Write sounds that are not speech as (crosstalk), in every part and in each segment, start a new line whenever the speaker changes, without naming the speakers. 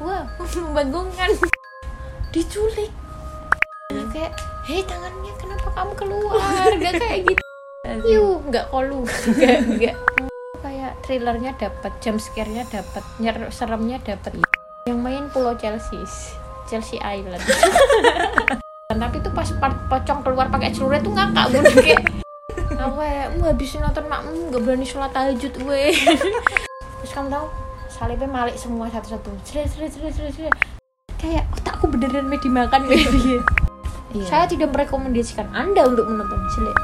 wah membagongkan diculik kayak hei tangannya kenapa kamu keluar gak kayak gitu Yuh, nggak kolu, nggak nggak. Kayak thrillernya dapat, jump scare-nya dapat, nyer seremnya dapat. Yang main Pulau Chelsea, Chelsea Island. (laughs) Dan tapi tuh pas part pocong keluar pakai celurit tuh ngakak gue kayak aku kayak "Mu habisin nonton makmu nggak berani sholat tahajud gue (laughs) terus kamu tahu salibnya malik semua satu-satu Jret, jret, jret, jret, jret. kayak otakku beneran mau dimakan kayak
Iya.
saya tidak merekomendasikan anda untuk menonton jelek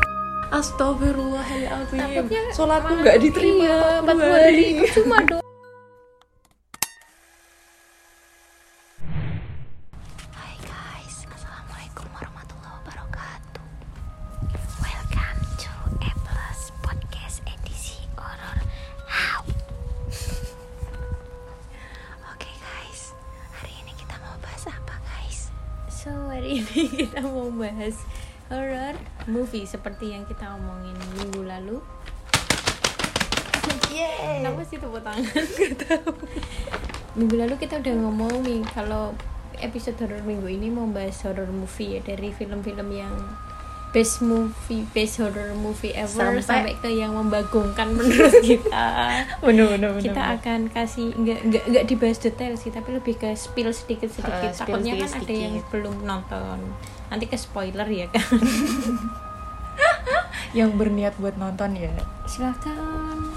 Astagfirullahaladzim.
Takutnya
Sholatku
malah-
nggak diterima
iya, empat dua hari percuma dong Hai guys Assalamualaikum warahmatullahi wabarakatuh Welcome to A Plus Podcast edisi horror How (laughs) Oke guys Hari ini kita mau bahas apa guys So hari ini (laughs) kita mau bahas horror movie seperti yang kita omongin minggu lalu Kenapa sih tepuk tangan? (laughs) Minggu lalu kita udah ngomong nih kalau episode horor minggu ini mau bahas horror movie ya dari film-film yang best movie, best horror movie ever sampai,
Sampai-
ke yang membagongkan (laughs) menurut kita.
Bener bener bener.
kita akan kasih nggak nggak nggak dibahas detail sih tapi lebih ke spill sedikit sedikit
Eh, spill
takutnya kan
sedikit
ada yang
sedikit.
belum nonton nanti ke spoiler ya kan
yang berniat buat nonton ya.
silakan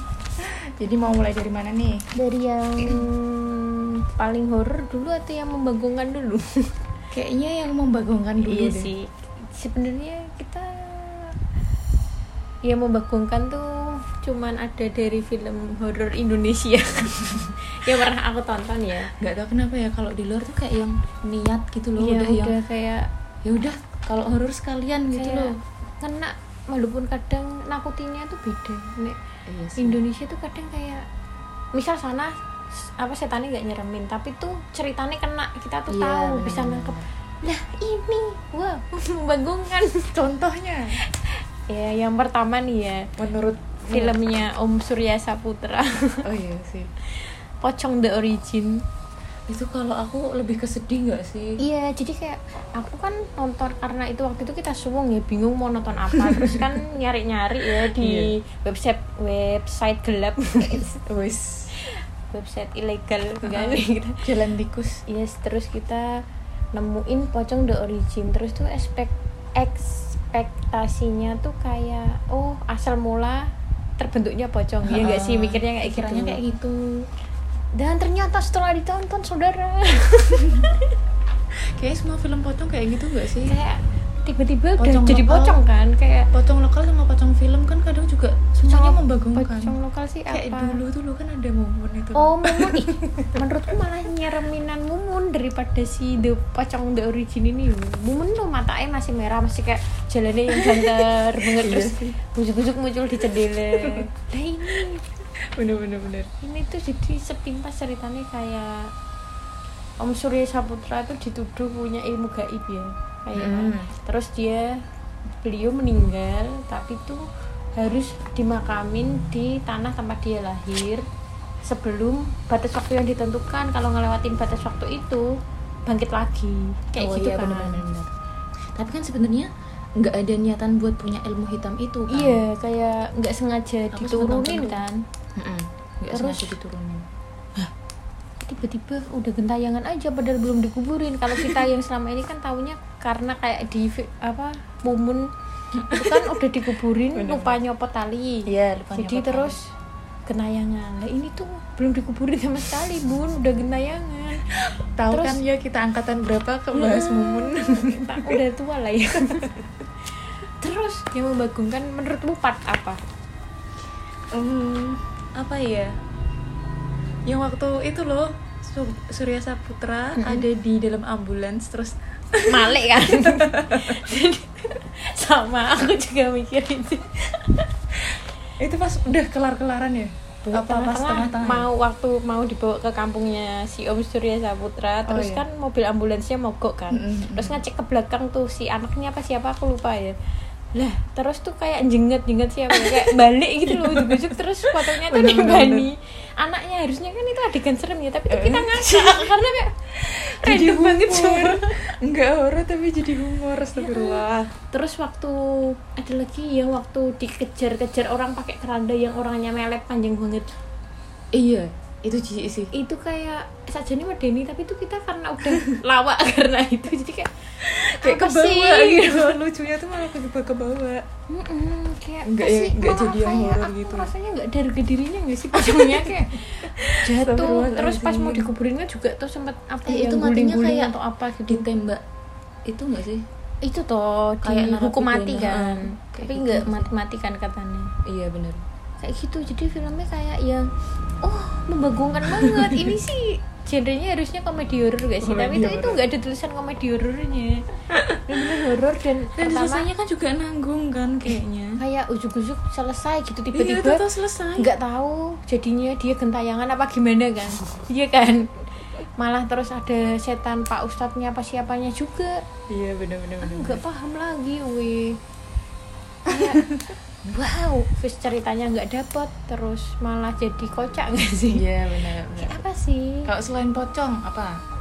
Jadi mau mulai dari mana nih?
dari yang paling horor dulu atau yang membagongkan (laughs) dulu
Kayaknya yang membagongkan dulu
iya
deh.
sih sebenarnya kita yang membagongkan tuh cuman ada dari film horor Indonesia (laughs) yang pernah aku tonton ya
Gak tau kenapa ya kalau di luar tuh kayak yang niat gitu loh,
Iya,
udah, yang
kayak
ya udah kalau horor sekalian gitu
kayak
loh.
kena walaupun kadang nakutinya tuh beda nek
Iya
Indonesia tuh kadang kayak misal sana s- apa setannya nggak nyeremin tapi tuh ceritanya kena kita tuh
Iya,
tahu
benar,
bisa
benar,
nangkep lah ini wah (laughs) membagongkan
Contohnya
ya yang pertama nih ya
menurut
filmnya Om Surya Saputra (laughs)
Oh iya sih.
Pocong The Origin
Itu kalau aku lebih kesedih nggak sih?
Iya, jadi kayak aku kan nonton karena itu waktu itu kita suwung ya bingung mau nonton apa. (laughs) Terus kan nyari-nyari ya di website website gelap, (laughs)
Wes.
website ilegal kan gitu.
Jalan tikus.
Yes, terus kita nemuin pocong the origin. Terus tuh expect ekspektasinya tuh kayak oh asal mula terbentuknya pocong
Iya
ya nggak sih
Heeh.
mikirnya kayak
Pikirannya
gitu.
kayak gitu.
dan ternyata setelah ditonton
(laughs)
saudara
Kayaknya semua film pocong kayak gitu nggak sih?
kayak tiba-tiba udah
Pocong
jadi
lokal.
pocong kan kayak
Pocong lokal sama pocong film kan kadang juga semuanya membagongkan.
pocong lokal sih
Kayak
apa
dulu dulu kan ada momen itu.
oh mumun ih, menurutku malah nyereminan mumun daripada si the pocong the origin ini mumun tuh matanya masih merah masih kayak jalannya yang banter
(laughs) Iya
banget terus bujuk-bujuk muncul di cendela nah ini
bener bener bener.
ini tuh jadi sepintas ceritanya kayak Om Surya Saputra tuh dituduh punya ilmu gaib ya kayak
Hmm.
terus dia beliau meninggal tapi tuh harus dimakamin di tanah tempat dia lahir sebelum batas waktu yang ditentukan kalau ngelewatin batas waktu itu bangkit lagi kayak
Oh
gitu
iya,
kan
bener, bener, bener. Tapi kan sebenarnya nggak ada niatan buat punya ilmu hitam itu kan?
iya kayak nggak sengaja
Aku sempat
diturunin
nonton tuh.
kan
Mm-mm. Nggak
Terus?
sengaja gitu kan. diturunin.
tiba-tiba udah gentayangan aja padahal belum dikuburin kalau kita yang selama ini kan taunya karena kayak di vi- apa mumun itu kan udah dikuburin
Bener-bener.
lupa nyopot tali
Iya, lupa
jadi
nyopot
terus gentayangan lah ini tuh belum dikuburin sama sekali bun udah gentayangan
Tahu
Terus- Hmm.
kan ya kita angkatan berapa ke bahas mumun?
Tak, udah tua lah ya terus yang membagongkan menurutmu part apa
Hmm, apa ya? Yang waktu itu loh Su- Surya Saputra
Hmm.
ada di dalam ambulans terus
malik
(laughs)
kan sama aku juga mikir itu
itu pas udah kelar-kelaran ya? Apa pas tengah-tengah?
mau waktu mau dibawa ke kampungnya si Om Surya Saputra
Oh,
terus
iya.
kan mobil ambulansnya mogok kan
Mm-mm.
terus ngecek ke belakang tuh si anaknya apa siapa aku lupa ya lah terus tuh kayak jenget jenget siapa ya
(laughs)
kayak balik gitu loh ujuk-ujuk terus fotonya tuh di
Bener, bener,
Bani anaknya harusnya kan itu adegan serem ya tapi tuh kita
(laughs)
ngakak karena kayak
Jadi
random banget
humor.
cuman
Enggak horor tapi jadi humor astagfirullah.
terus waktu ada lagi ya waktu dikejar-kejar orang pakai keranda yang orangnya melet panjang banget
Iya, itu jijik sih.
itu kayak saja nih medeni tapi tuh kita karena udah (laughs) lawak karena itu jadi kayak
Kayak
apa sih?
kebawa gitu. (laughs) Lucunya tuh malah ke kebawa.
Mm-mm, kayak
Nggak
apa
ya-
sih?
nggak
Malah
jadi yang
kayak
horor
aku
gitu.
rasanya nggak dari ke dirinya nggak sih pocongnya
(laughs)
kayak jatuh
Astagfirullahaladzim.
terus pas mau dikuburinnya juga tuh sempet apa
Eh,
yang
itu matinya
guling-guling
kayak-
atau apa gitu
Ditembak. Itu enggak sih?
itu toh di
Kayak
hukum mati
narapidana,
kan
ah, kayak
tapi
gitu.
nggak mati-mati kan katanya
Iya benar.
kayak gitu jadi filmnya kayak yang oh membagongkan
(laughs)
banget ini sih genrenya harusnya komedi horor gak sih tapi
Komedi
itu itu
horor.
nggak ada tulisan komedi horornya bener horor dan,
Dan
pertama
selesainya kan juga nanggung kan kayaknya.
kayak ujuk-ujuk selesai gitu
Iya, itu
tiba-tiba
tuh selesai.
nggak tahu jadinya dia gentayangan apa gimana kan iya kan malah terus ada setan pak ustadznya apa siapanya juga
Iya benar-benar.
aku nggak paham lagi weh
(laughs)
Kayak, wow terus ceritanya nggak dapet terus malah jadi kocak nggak sih
Iya benar.
Kayak apa sih
Kalau selain pocong apa?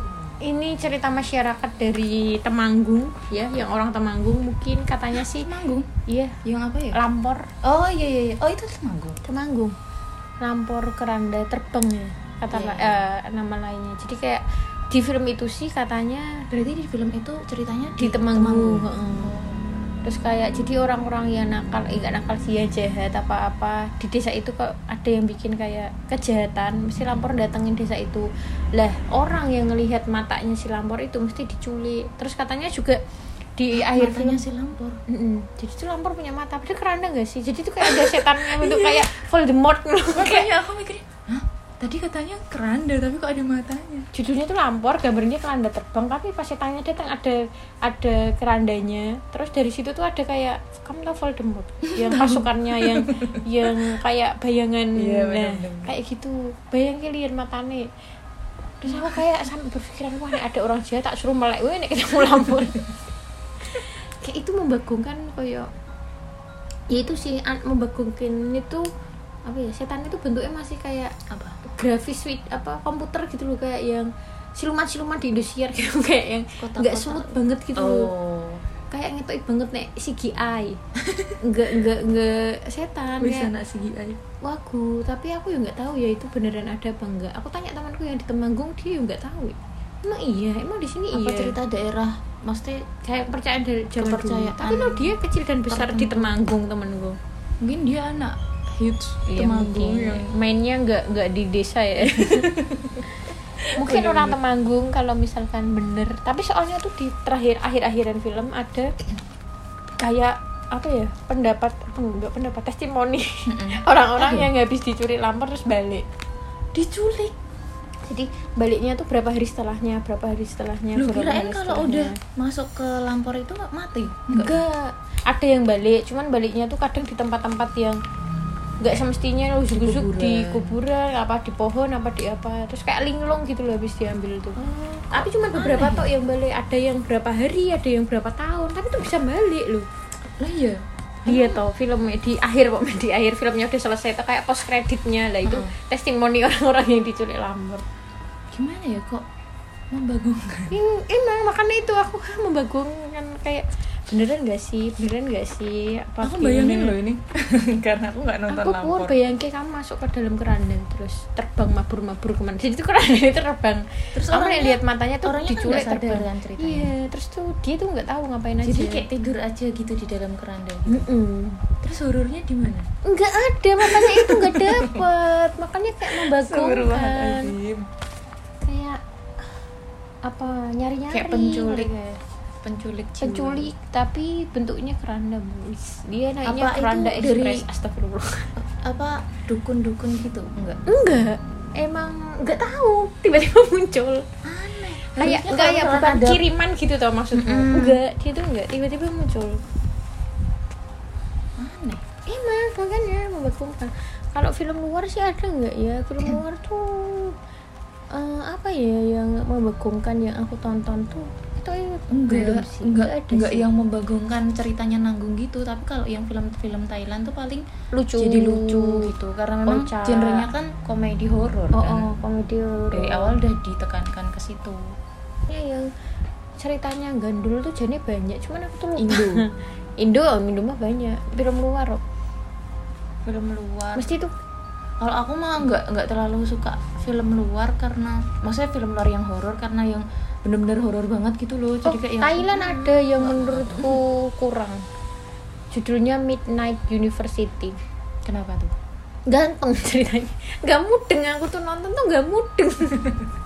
ini cerita masyarakat dari Temanggung ya yang orang Temanggung mungkin katanya sih
Temanggung.
iya
Yang apa ya?
lampor
Oh iya iya iya. Oh itu Temanggung.
Temanggung lampor keranda terbang ya kata
Iya.
eh, nama lainnya jadi kayak di film itu sih katanya
Berarti di film itu ceritanya
di Temanggung heeh. terus kayak jadi orang-orang yang nakal eh, nggak nakal sih ya jahat apa-apa di desa itu kok ada yang bikin kayak kejahatan mesti lampor datengin desa itu lah orang yang ngelihat matanya si lampor itu mesti diculik terus katanya juga di akhir film
Akhirnya si Lampor.
Mm-mm. Jadi tuh lampor punya mata, padahal keranda gak sih? Jadi tuh kayak ada setannya bentuk kayak Voldemort (laughs) kayak
Makanya aku mikirnya, hah? Tadi katanya keranda tapi kok ada matanya?
judulnya tuh lampor, gambarnya keranda terbang, tapi pas setannya datang kan ada ada kerandanya. Terus dari situ tuh ada kayak kamu tau Voldemort yang pasukannya yang yang kayak bayangan nah,
Iya, bener-bener.
kayak gitu. Bayangin lihat matane. Terus aku kayak sampai berpikiran wah nek ada orang jahat tak suruh melek weh nek ketemu lampor. kayak itu membagongkan kayak ya itu sih an- membagongkan itu apa ya setan itu bentuknya masih kayak
Apa?
grafis suite apa komputer gitu loh kayak yang siluman-siluman di Indosiar gitu (laughs) kayak yang
Kotak-kotak.
nggak smooth banget gitu loh.
Oh.
Oh.
kayak ngetoi banget nek CGI nggak nggak nggak setan
ya,
Bisa
kayak
nak segi aja.
wagu tapi aku juga nggak tahu ya itu beneran ada apa enggak aku tanya temanku yang di Temanggung dia juga nggak tahu emang iya emang di sini iya
apa cerita daerah mesti
kayak percayaan dari zaman dulu
Kepercayaan
tapi lo dia kecil dan besar di
tertentu.
Temanggung temanku
mungkin dia anak ya. hits
Iya,
temanggung
mungkin.
yang
mainnya nggak nggak di desa ya mungkin
Iya,
orang
bener.
temanggung kalau misalkan bener tapi soalnya tuh di terakhir akhir akhiran film ada kayak apa ya pendapat apa enggak pendapat testimoni (laughs) orang-orang yang habis dicuri lampor terus balik diculik jadi baliknya tuh berapa hari setelahnya berapa hari setelahnya
lu
berapa
kirain
hari
kalau
setelahnya.
udah masuk ke lampor itu nggak mati
enggak ada yang balik cuman baliknya tuh kadang di tempat-tempat yang nggak semestinya lo usuk-usuk di kuburan apa di pohon apa di apa terus kayak linglung gitu loh habis diambil tuh tapi cuman beberapa tok yang balik ada yang berapa hari ada yang berapa tahun tapi tuh bisa balik loh
lah iya
dia tau film di akhir (laughs) kok di akhir filmnya udah selesai tuh kayak post kreditnya lah itu testimoni (laughs) orang-orang yang diculik lambat
gimana ya kok membagongkan
Em- emang makanya itu aku "Hah, membagongkan kayak beneran gak sih beneran gak sih apa
aku
filmnya?"
bayangin loh ini (laughs) karena aku nggak nonton
aku pun
lampor
bayangin kamu masuk ke dalam keranda terus terbang mabur-mabur kemana jadi itu keranda itu terbang terus
Terus
kamu
orangnya-
nih lihat matanya tuh
orangnya kan
diculik
nggak sadar
terbang
kan ceritanya.
iya terus tuh dia tuh nggak tahu ngapain aja
jadi kayak tidur aja gitu di dalam keranda gitu.
Mm-mm.
terus horornya di mana
nggak ada matanya itu nggak dapet makanya kayak membagongkan
Astagfirullahaladzim.
kayak apa nyari-nyari
Kayak penculik.
mereka.
penculik jiwa.
penculik tapi bentuknya keranda boys dia naiknya
Apa itu
keranda
dari-
ekspres astagfirullah
apa dukun-dukun gitu enggak
enggak emang nggak tahu tiba-tiba (laughs) muncul
aneh
kayak
Harusnya
enggak
kalau
ya
misalkan
bukan
ada-
kiriman gitu tau maksudnya
Mm-mm.
enggak dia tuh enggak tiba-tiba muncul
aneh
emang Eh, makanya membagongkan kalau film luar sih ada enggak ya film luar tuh eh, apa ya yang membagongkan yang aku tonton tuh atau itu
enggak
belum sih
enggak
ada
enggak
sih.
yang membagongkan ceritanya nanggung gitu tapi kalau yang film-film Thailand tuh paling
lucu
jadi lucu gitu karena memang
Kocak.
genrenya kan komedi horor
oh,
kan
oh komedi horor.
dari awal udah ditekankan ke situ
Ya, yang ceritanya gandul tuh jadi banyak cuman aku tuh lupa
Indo.
(laughs) Indo oh, Indo mah banyak film luar kok
film luar
mesti tuh
kalau aku mah nggak nggak terlalu suka film luar karena maksudnya film luar yang horor karena yang bener-bener horor banget gitu loh jadi
Oh,
kayak yang- Hmm,
Thailand ada yang menurutku kurang judulnya Midnight University
kenapa tuh
ganteng ceritanya nggak mudeng aku tuh nonton tuh nggak mudeng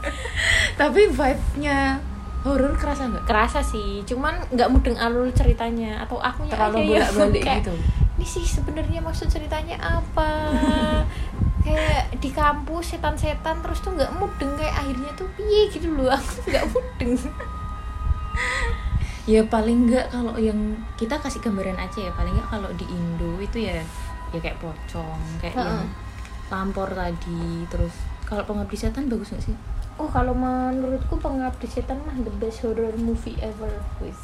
(laughs)
tapi vibe-nya
horor kerasa nggak
kerasa sih cuman nggak mudeng alur ceritanya atau aku
terlalu bolak-balik gitu
ini sih sebenarnya maksud ceritanya (laughs) apa kayak di kampus setan-setan terus tuh nggak mudeng kayak akhirnya tuh piye gitu loh (laughs) aku tuh nggak mudeng
ya paling nggak kalau yang kita kasih gambaran aja ya paling nggak kalau di Indo itu ya ya kayak pocong kayak yang
Heeh.
lampor tadi terus kalau pengabdi setan bagus nggak sih
oh kalau menurutku pengabdi setan mah the best horror movie ever with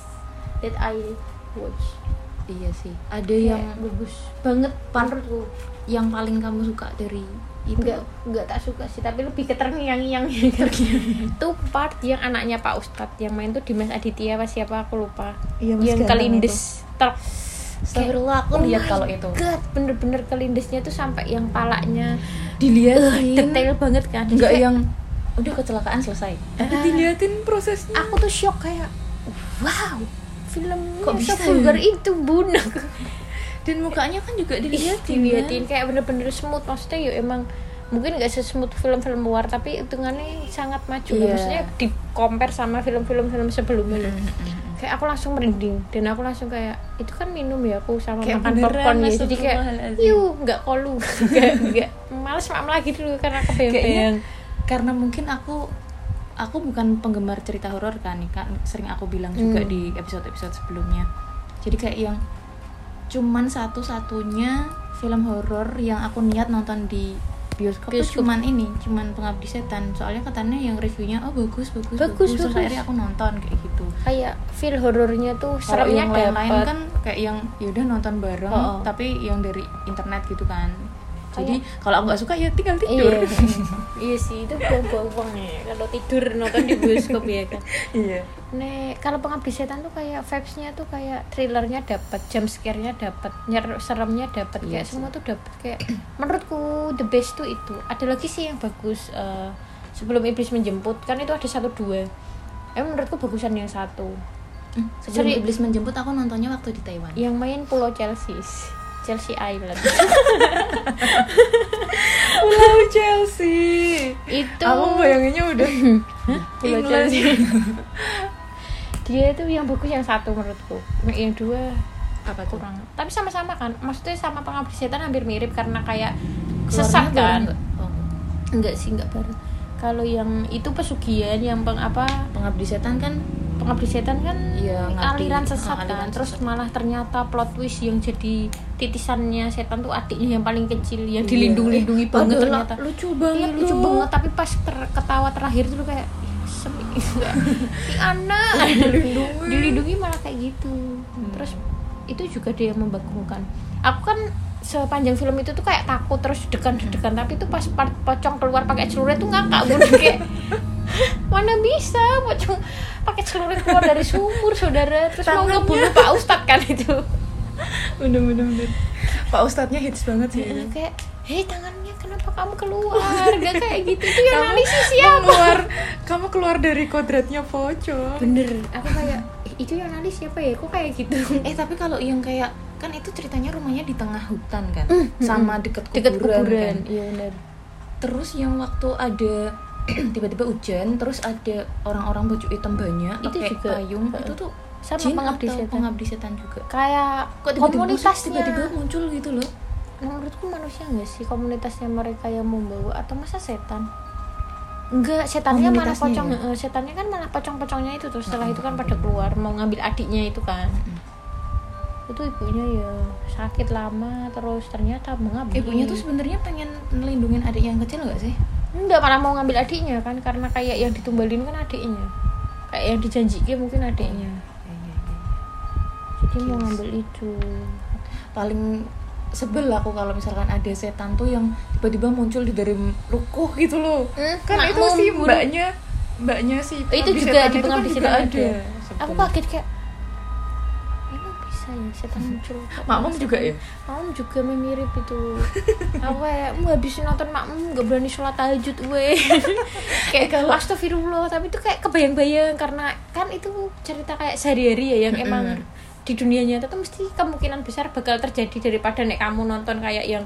that I watch
iya sih ada yang
Kayak bagus
banget part
menurutku
yang paling kamu suka dari itu
nggak nggak tak suka sih tapi lebih ke terngiang-ngiang itu part yang anaknya Pak Ustadz yang main tuh Dimas Aditya apa siapa aku lupa
Iya, Mas
yang
Ganteng
kelindes ter
Astagfirullah,
Kayak,
aku lihat
my
kalau itu.
God, bener-bener kelindesnya tuh sampai yang palanya
dilihatin
detail banget kan
nggak
Kayak,
yang udah kecelakaan selesai Ah.
diliatin prosesnya
aku tuh shock kayak wow filmnya
Kok
Kok
bisa
vulgar itu bunak
dan mukanya kan juga
Iya,
diliatin
diliatin kayak bener-bener smooth maksudnya ya emang mungkin nggak sesmooth film-film luar tapi hitungannya sangat maju lah.
Iya. Hmm.
maksudnya di compare sama film-film film sebelumnya
kan?
loh. kayak aku langsung merinding dan aku langsung kayak itu kan minum ya aku sama
Kayak
makan
beneran,
popcorn ya
gitu.
jadi kayak
astagfirullahaladzim.
yuh nggak kolu (laughs) nggak nggak males makan lagi dulu karena aku
kayaknya karena mungkin aku aku bukan penggemar cerita horor kan nih kan sering aku bilang juga
Hmm.
di episode-episode sebelumnya jadi kayak yang cuman satu-satunya film horor yang aku niat nonton di bioskop,
Bioskop.
tuh cuman ini cuman pengabdi setan soalnya katanya yang reviewnya oh bagus bagus
Bagus,
terus
bagus.
akhirnya aku nonton kayak gitu
kayak feel horornya tuh
kalau
seremnya
Oh,
Iya.
yang lain-lain
dapet
kan kayak yang yaudah nonton bareng
Oh, oh.
tapi yang dari internet gitu kan jadi
Kayak-
kalau aku nggak suka ya tinggal
iya
tidur
(laughs) iya sih itu buang-buang uang ya kalau tidur nonton di bioskop ya kan
(laughs) iya
Nek, kalau pengabdi setan tuh kayak vibes-nya tuh kayak thrillernya dapat, jump scare-nya dapat, nyer seremnya dapat,
Iya
kayak
sih.
semua tuh dapat kayak (clears throat) menurutku the best tuh itu. Ada lagi sih yang bagus eh, sebelum iblis menjemput kan itu ada satu dua. Eh menurutku bagusan yang satu.
Hmm, Sebelum
Seri-
iblis menjemput aku nontonnya waktu di Taiwan.
(laughs)
Yang main Pulau Chelsea. Chelsea Island.
pulau Chelsea
itu
aku bayanginnya udah
Pulau
England.
Chelsea. (laughs) Dia itu yang bagus yang satu menurutku. Yang dua
apa tuh?
kurang tapi sama-sama kan maksudnya sama pengabdi setan hampir mirip karena kayak
Keluarnya
sesat
baru
kan
nggak? Oh, nggak.
enggak sih enggak baru kalau yang itu pesugihan yang peng apa
Pengabdi setan kan
pengabdi setan kan
Iya, ngadi.
aliran
Ah,
sesat
aliran
kan terus
sesat.
malah ternyata plot twist yang jadi titisannya setan tuh adiknya yang paling kecil yang
Iya.
dilindung-lindungi banget
Padahal
ternyata
lucu
Iya,
banget
lucu
loh.
banget tapi pas ter- ketawa terakhir tuh kayak "Ih, (laughs) semi enggak. si
(laughs)
anak dilindungi malah kayak gitu
Hmm.
terus itu juga dia yang membagongkan aku kan sepanjang film itu tuh kayak takut terus degan-degan tapi tuh pas part pocong keluar pakai celurit tuh ngakak gue kayak (laughs) mana bisa pocong pakai celurit keluar dari sumur saudara terus
Tangannya.
mau ngebunuh pak ustadz kan itu
bener bener bener pak ustadznya hits banget sih
Iya, kayak hei tangannya kenapa kamu keluar gak kayak gitu itu yang
Kamu
analisis siapa
keluar kamu keluar dari kodratnya pocong
bener aku kayak "Ih, itu yang nangis siapa ya kok kayak gitu
eh tapi kalau yang kayak kan itu ceritanya rumahnya di tengah hutan kan sama deket kuburan, kan.
iya bener
terus yang waktu ada (clears throat) tiba-tiba hujan terus ada orang-orang baju hitam banyak
Itu
pakai
juga.
payung itu tuh
Sama
jin
pengabdi
atau
setan.
pengabdi setan juga
kayak
kok tiba-tiba
komunitasnya
tiba-tiba muncul gitu loh
menurutku manusia nggak sih komunitasnya mereka yang membawa atau masa setan enggak setannya malah
Komunitasnya
pocong
ya?
eh, setannya kan malah pocong-pocongnya itu terus setelah itu kan pada keluar mau ngambil adiknya itu kan itu ibunya ya sakit lama terus ternyata mengambil
ibunya tuh sebenarnya pengen melindungi adik yang kecil nggak sih
enggak malah mau ngambil adiknya kan karena kayak yang ditumbalin kan adiknya kayak yang dijanjikan mungkin adiknya iya.
Kayaknya, kayaknya.
jadi mau ngambil itu
paling sebel aku kalau misalkan ada setan tuh yang tiba-tiba muncul di dari rukuh gitu loh
Hmm,
kan itu
makmum.
si mbaknya mbaknya si
itu
pengabdi
juga
setan
di
itu kan
pengabdi
juga
setan ada
Sebel.
aku kaget kayak emang bisa ya setan muncul Kayak
makmum
masa-
juga ya
Makmum juga memirip itu (laughs) apa ya Em habisin nonton makmum gak berani sholat tahajud (laughs) gue kayak kalau astagfirullah tapi itu kayak kebayang-bayang karena kan itu cerita kayak sehari-hari ya yang emang di dunia nyata tuh mesti kemungkinan besar bakal terjadi daripada nek kamu nonton kayak yang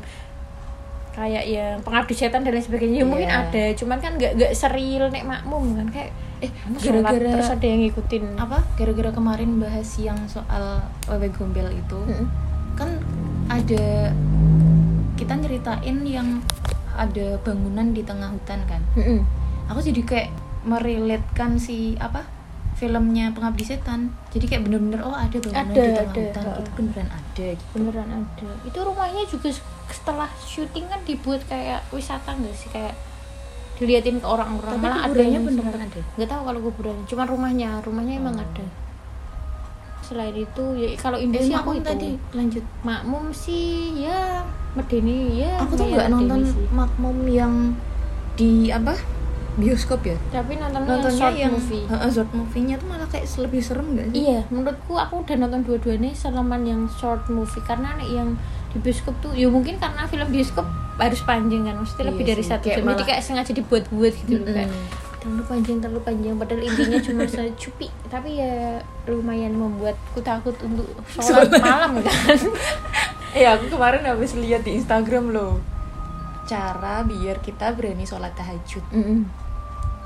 kayak yang pengabdi setan dan lain sebagainya ya mungkin
Iya.
ada cuman kan nggak nggak seril nek makmum kan kayak eh
Kamu
sholat,
gara-gara-
terus ada yang ngikutin
apa gara-gara kemarin bahas yang soal wewe gombel itu
Mm-mm.
kan ada kita nyeritain yang ada bangunan di tengah hutan kan
Mm-mm.
aku jadi kayak meriletkan si apa filmnya pengabdi setan jadi kayak bener-bener oh ada bangunan
Ada,
di tengah
ada.
hutan itu beneran ada gitu.
beneran ada itu rumahnya juga se- setelah syuting kan dibuat kayak wisata nggak sih kayak diliatin ke orang-orang
tapi
Malah ada
kuburannya
yang
beneran
sempet-
ada
nggak tahu kalau kuburan cuma rumahnya rumahnya
Oh.
emang ada selain itu ya kalau Indo
Eh,
sih
makmum
aku itu
tadi lanjut
makmum sih ya medeni ya
aku tuh
lumayan
nggak
medeni
nonton
sih.
makmum yang di apa bioskop ya
tapi nontonnya,
nontonnya
yang short
yang
movie
Heeh, short movie-nya tuh malah kayak lebih serem gak sih
Iya, menurutku aku udah nonton dua-duanya selaman yang short movie karena nek yang di bioskop tuh ya mungkin karena film bioskop harus panjang kan, mesti
Iya
lebih dari
sih,
satu
kayak
jam. Jadi
malah-
kayak sengaja dibuat-buat gitu loh
Mm-mm.
kayak terlalu panjang terlalu panjang padahal intinya
(laughs)
cuma secupi tapi ya lumayan membuatku takut untuk sholat malam kan
Iya, aku kemarin habis lihat di Instagram loh.
cara biar kita berani sholat tahajud
Caranya-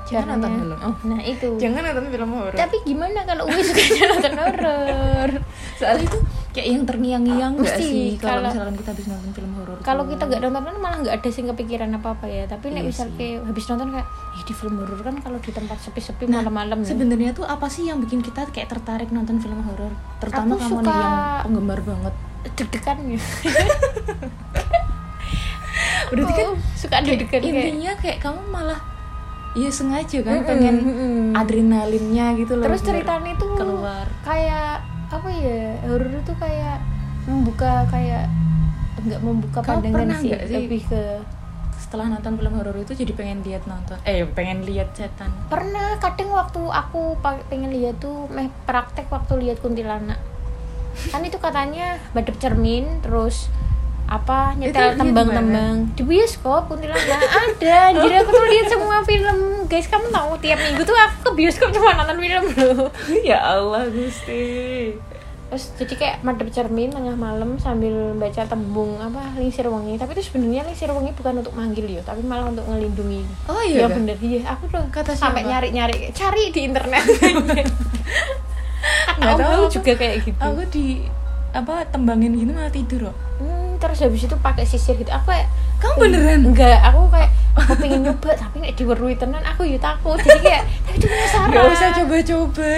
jangan nonton film oh.
nah itu
Jangan nonton film horor.
Kan,
tapi gimana kalau Uwi suka nonton horor
soalnya itu kayak yang terngiang-ngiang gak
Mesti,
sih kalau
kalau-
misalkan kita habis nonton film horor
kalau
tuh.
kita nggak nonton kan malah nggak ada sih kepikiran apa apa ya tapi nek
Hmm. Iya
misal kayak habis nonton kayak eh di film horor kan kalau di tempat sepi-sepi
Nah,
malam-malam ya.
sebenarnya tuh apa sih yang bikin kita kayak tertarik nonton film horor terutama
Aku
kamu
suka-
nih yang penggemar banget
deg-degan ya
(laughs) berarti kan
Oh, suka deg-degan kayak
intinya kayak kamu malah ya sengaja kan
Mm-mm,
pengen
mm-mm.
adrenalinnya gitu loh
terus
biar
ceritanya tuh
keluar
kayak apa ya horor itu kayak membuka kayak nggak membuka
Kamu
pandangan
pernah
sih,
nggak sih?
lebih ke
setelah nonton film horor itu jadi pengen lihat nonton eh pengen lihat setan
pernah kadang waktu aku pa- pengen lihat tuh meh praktek waktu lihat kuntilanak kan itu katanya badep cermin terus apa nyetel
lihat
tembang-tembang di bioskop kuntilanak ada anjir aku tuh lihat semua film guys kamu tahu tiap minggu tuh aku ke bioskop cuma nonton film loh
ya Allah Gusti.
terus jadi kayak madep cermin tengah malam sambil baca tembung apa lingsir wangi tapi itu sebenarnya lingsir wangi bukan untuk manggil yo tapi malah untuk ngelindungi
oh
Iya
iya kan?
bener iya aku tuh
Kata
sampai
siapa?
nyari-nyari cari di internet.
Nggak
(laughs) Nggak
tahu, aku-
juga kayak gitu.
aku di apa tembangin gitu malah tidur kok
Hmm, terus habis itu pakai sisir gitu. Aku kayak
kamu beneran
enggak, aku kayak aku pengen nyoba tapi nggak diwerui tenan aku ya takut. Jadi kayak tapi itu penasaran.
nggak usah coba-coba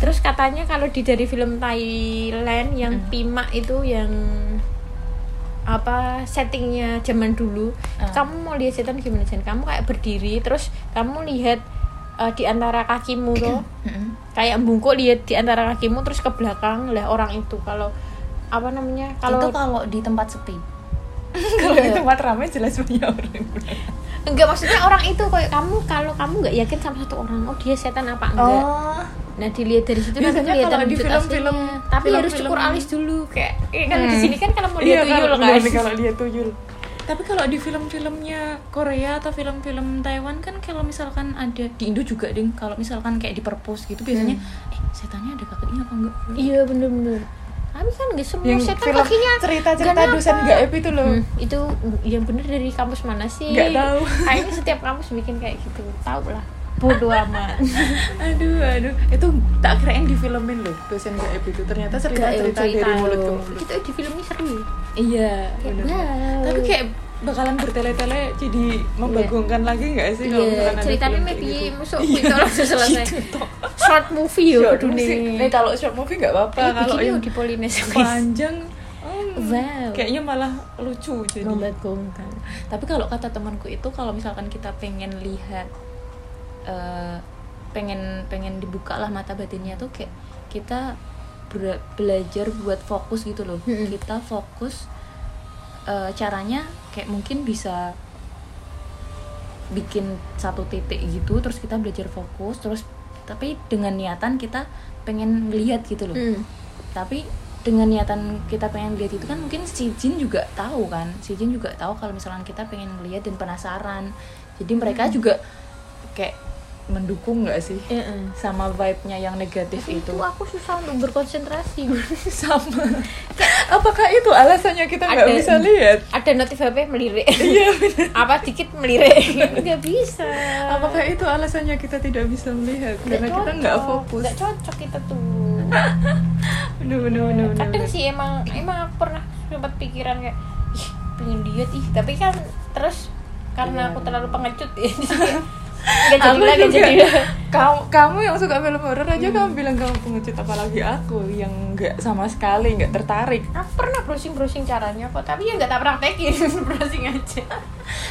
Terus katanya kalau di dari film Thailand yang Pima itu yang apa settingnya zaman dulu
Ah.
kamu mau lihat setan gimana Jan? kamu kayak berdiri terus kamu lihat eh, di antara kakimu tuh kayak bungkuk lihat di antara kakimu terus ke belakang lah orang itu kalau apa namanya
itu
kalau
kalau di tempat (laughs) sepi Iya.
Kalau di tempat ramai jelas punya orang.
enggak maksudnya orang itu kayak kamu kalau kamu nggak yakin sama satu orang oh dia setan apa enggak
oh
nah dilihat dari situ nanti
Biasanya
kelihatan
kalau di
wujud
film-film-
aslinya. tapi
film-film- Iya,
harus cukur alis dulu kayak eh, kalau di
Hmm.
sini kan kalau mau lihat tuyul kan
kalau lihat tuyul.
Tapi kalau di film-filmnya Korea atau film-film Taiwan kan kalau misalkan ada di Indo juga ding kalau misalkan kayak di perpus gitu biasanya
Hmm.
eh setannya ada kakinya apa enggak?
iya bener-bener tapi kan nggak semua
Yang
setan
film
kakinya
Iya, cerita-cerita
kenapa?
dosen gaib itu loh.
Hmm, itu yang bener dari kampus mana sih
Nggak tahu.
kayaknya setiap kampus bikin kayak gitu tau lah bodoh amat
Aduh, aduh. Itu tak kirain di filmin loh dosen gaib itu. Ternyata cerita-cerita dari mulut ke mulut.
Itu di filmnya seru ya.
Iya,
Kayak,
bener.
wow.
Tapi kayak bakalan bertele-tele jadi membagongkan lagi nggak sih kalau misalkan ada
ceritanya
film kayak
Iya, maybe
gitu?
musuh itu langsung selesai. Short movie ya
Short
kudu
movie.
nih.
Eh kalau short movie nggak apa-apa.
Ini
Kalau
begini
yang
di
(laughs)
Polinesia guys.
panjang, hmm,
Wow.
kayaknya malah lucu jadi.
Membagongkan.
Tapi kalau kata temanku itu kalau misalkan kita pengen lihat eh, pengen pengen dibuka lah mata batinnya tuh kayak kita ber- belajar buat fokus gitu loh
Hmm.
Mm-mm.
kita fokus eh, caranya kayak mungkin bisa bikin satu titik gitu terus kita belajar fokus terus tapi dengan niatan kita pengen ngelihat gitu loh
Hmm.
tapi dengan niatan kita pengen lihat itu kan mungkin si Jin juga tahu kan si Jin juga tahu kalau misalkan kita pengen ngelihat dan penasaran jadi mereka juga kayak mendukung nggak sih
Iya, eh.
sama vibe-nya yang negatif
Tapi
itu
itu aku susah untuk berkonsentrasi (laughs)
sama (laughs) apakah itu alasannya kita nggak
Ada-
bisa lihat
ada notif HP melirik
Iya,
apa dikit
(laughs)
melirik nggak bisa
apakah itu alasannya kita tidak bisa melihat
Nggak
karena kita
cocok.
nggak fokus
nggak cocok kita tuh
bener bener bener bener,
kadang
bener.
sih emang emang aku pernah sempat pikiran kayak ih pengen diet ih tapi kan terus karena
Iya.
aku terlalu pengecut (laughs)
(laughs)
ya jadi kayak, nggak jadi
Aku
lah nggak
juga.
jadi lah
kamu kamu yang suka film horor aja kamu
Mm.
bilang kamu pengecut apalagi aku yang nggak sama sekali nggak tertarik
aku pernah browsing browsing caranya kok tapi ya nggak tak praktekin (laughs) browsing aja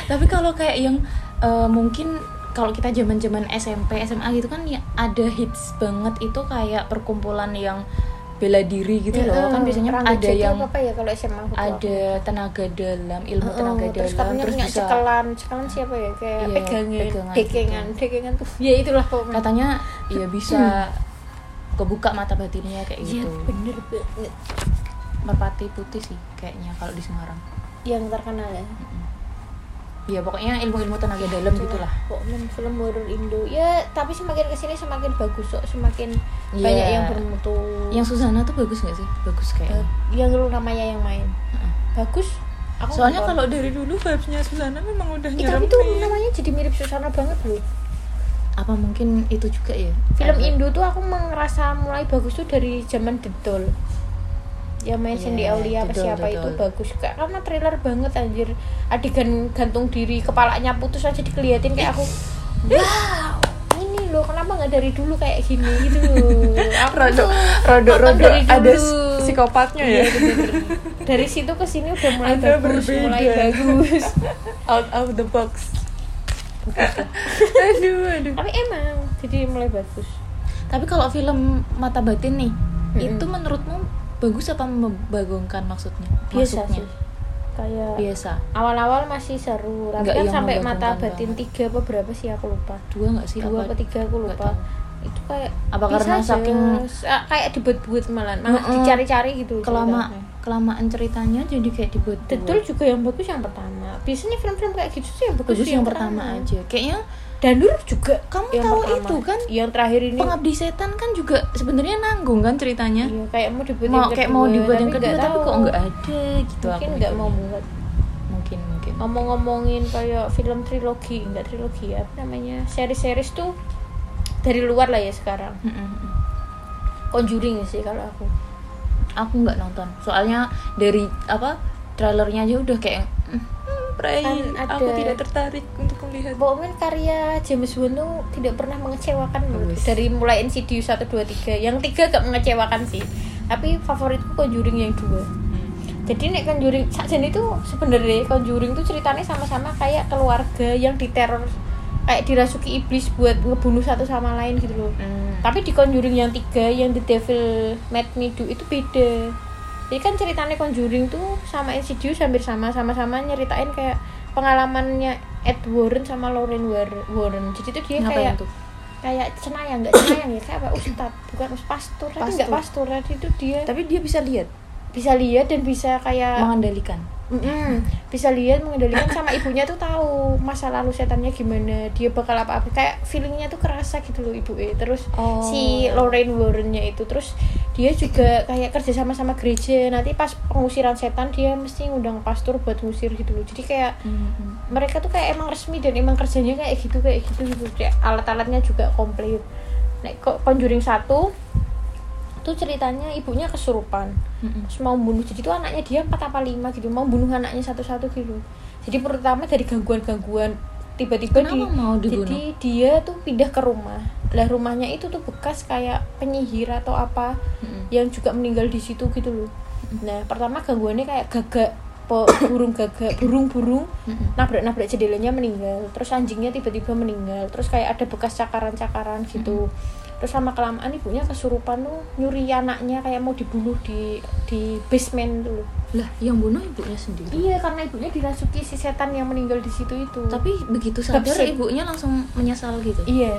tapi kalau kayak yang eh, mungkin kalau kita zaman zaman SMP SMA gitu kan ya ada hits banget itu kayak perkumpulan yang bela diri gitu loh kan biasanya
Rangga
ada
Jati
yang
apa ya kalau SMA aku tuh?
ada tenaga dalam ilmu
Heeh,
tenaga
terus
dalam
katanya
terus
punya
bisa
cekelan cekelan siapa ya kayak
Iya,
pegangan
pegangan kan.
dekengan dekengan tuh ya itulah pokoknya
katanya ya bisa kebuka mata batinnya kayak
Iya,
gitu
bener banget
merpati putih sih kayaknya kalau di Semarang
yang terkenal ya
ya pokoknya ilmu-ilmu tenaga dalam
Iya,
gitu gitulah
Kok men- film horor Indo ya tapi semakin kesini semakin bagus kok semakin
Iya.
banyak yang bermutu
yang Susana tuh bagus nggak sih bagus kayak
Ba- yang lu namanya yang main bagus aku
soalnya
nonton.
kalau dari dulu vibes-nya Susana memang udah
Ih, tapi
nyeremin
tuh namanya jadi mirip Susana banget loh
apa mungkin itu juga ya
film
Ada-
Indo tuh aku merasa mulai bagus tuh dari zaman Dedol yang main
Iya,
Cindy Aulia apa
Dedol,
siapa itu
Dedol.
bagus Kak, karena trailer banget anjir adegan gantung diri kepalanya putus aja dikeliatin kayak aku wow ini loh kenapa nggak dari dulu kayak gini gitu
(laughs)
loh aku tuh
rodo rodo
nonton
rodo
dari
ada
dulu.
s- psikopatnya ya
Iya, bener. dari situ ke sini udah mulai
Anda
bagus
berbeda.
mulai bagus
out of the box aduh aduh
tapi emang jadi mulai bagus
tapi kalau film mata batin nih
Mm-mm.
itu menurutmu bagus apa membagongkan maksudnya
biasa sih
Maksudnya?
kayak
biasa
awal-awal masih seru tapi
Nggak
kan
yang
sampai mata
membanggakan
batin
banget.
tiga apa berapa sih aku lupa
dua nggak sih
dua
apa
apa tiga aku
nggak
lupa
tahu.
itu kayak
Apa
bisa
karena
aja.
saking-
Ah, kayak dibuat-buat malah malah
Mm-mm.
dicari-cari gitu
kelama
ceritanya.
kelamaan ceritanya jadi kayak dibuat dua.
Betul juga yang bagus yang pertama biasanya film-film kayak gitu sih yang bagus,
bagus yang pertama aja kayaknya
Danur juga
Kamu
yang
tahu itu kan?
yang terakhir ini
pengabdi setan kan juga sebenarnya nanggung kan ceritanya
iya, kayak mau dibuat
mau
yang
kayak mau
kedua,
dibuat yang
tapi
kedua
nggak
tapi
tahu.
kok nggak ada gitu
mungkin
aku Oh.
nggak mau
mikirnya.
buat
mungkin mungkin
ngomong-ngomongin kayak film trilogi enggak trilogi ya apa namanya seri-series tuh dari luar lah ya sekarang
Mm-mm.
Conjuring sih kalau aku
aku nggak nonton soalnya dari apa trailernya aja udah kayak "Hmm, Bray,
Kan ada-
aku tidak tertarik untuk melihat
Pokoknya karya James Wan tuh tidak pernah mengecewakan menurutku.
Wes.
dari mulai Insidious 1, 2, 3 yang tiga gak mengecewakan sih tapi favoritku Conjuring yang dua jadi nek Conjuring sajen itu sebenarnya Conjuring tuh ceritanya sama-sama kayak keluarga yang diteror kayak dirasuki iblis buat ngebunuh satu sama lain gitu loh
Hmm.
tapi di Conjuring yang tiga yang The Devil Made Me Do itu beda jadi kan ceritanya Conjuring tuh sama Insidious hampir sama sama-sama nyeritain kayak pengalamannya Ed Warren sama Lauren War- Warren jadi tuh Eh? dia kayak
ngapain tuh
kayak cenayang nggak cenayang ya kayak apa ustad bukan ustad pastor tapi nggak pastor tadi itu dia
tapi dia bisa lihat
bisa lihat dan bisa kayak
mengandalkan
Mm-mm. bisa lihat mengendalikan sama ibunya tuh tahu masa lalu setannya gimana dia bakal apa apa kayak feelingnya tuh kerasa gitu loh ibu eh terus
Oh.
si Lorraine Warrennya itu terus dia juga kayak kerja sama sama gereja nanti pas pengusiran setan dia mesti ngundang pastor buat ngusir gitu loh jadi kayak mereka tuh kayak emang resmi dan emang kerjanya kayak gitu kayak gitu gitu Kayak alat-alatnya juga komplit nek kok Conjuring satu tuh ceritanya ibunya kesurupan
Mm-mm.
terus mau bunuh jadi tuh anaknya dia empat apa lima gitu mau bunuh anaknya satu-satu gitu jadi pertama dari gangguan-gangguan tiba-tiba
Kenapa
di
mau dibunuh?
jadi dia tuh pindah ke rumah lah rumahnya itu tuh bekas kayak penyihir atau apa
Mm-mm.
yang juga meninggal di situ gitu loh nah pertama gangguannya kayak gagak apa (coughs) burung gagak burung-burung nabrak-nabrak jendelanya meninggal terus anjingnya tiba-tiba meninggal terus kayak ada bekas cakaran-cakaran gitu
Mm-hmm.
terus lama kelamaan ibunya kesurupan tuh nyuri anaknya kayak mau dibunuh di di basement dulu
lah yang bunuh ibunya sendiri
iya karena ibunya dirasuki si setan yang meninggal di situ itu
tapi begitu sadar
Babsek.
ibunya langsung menyesal gitu
iya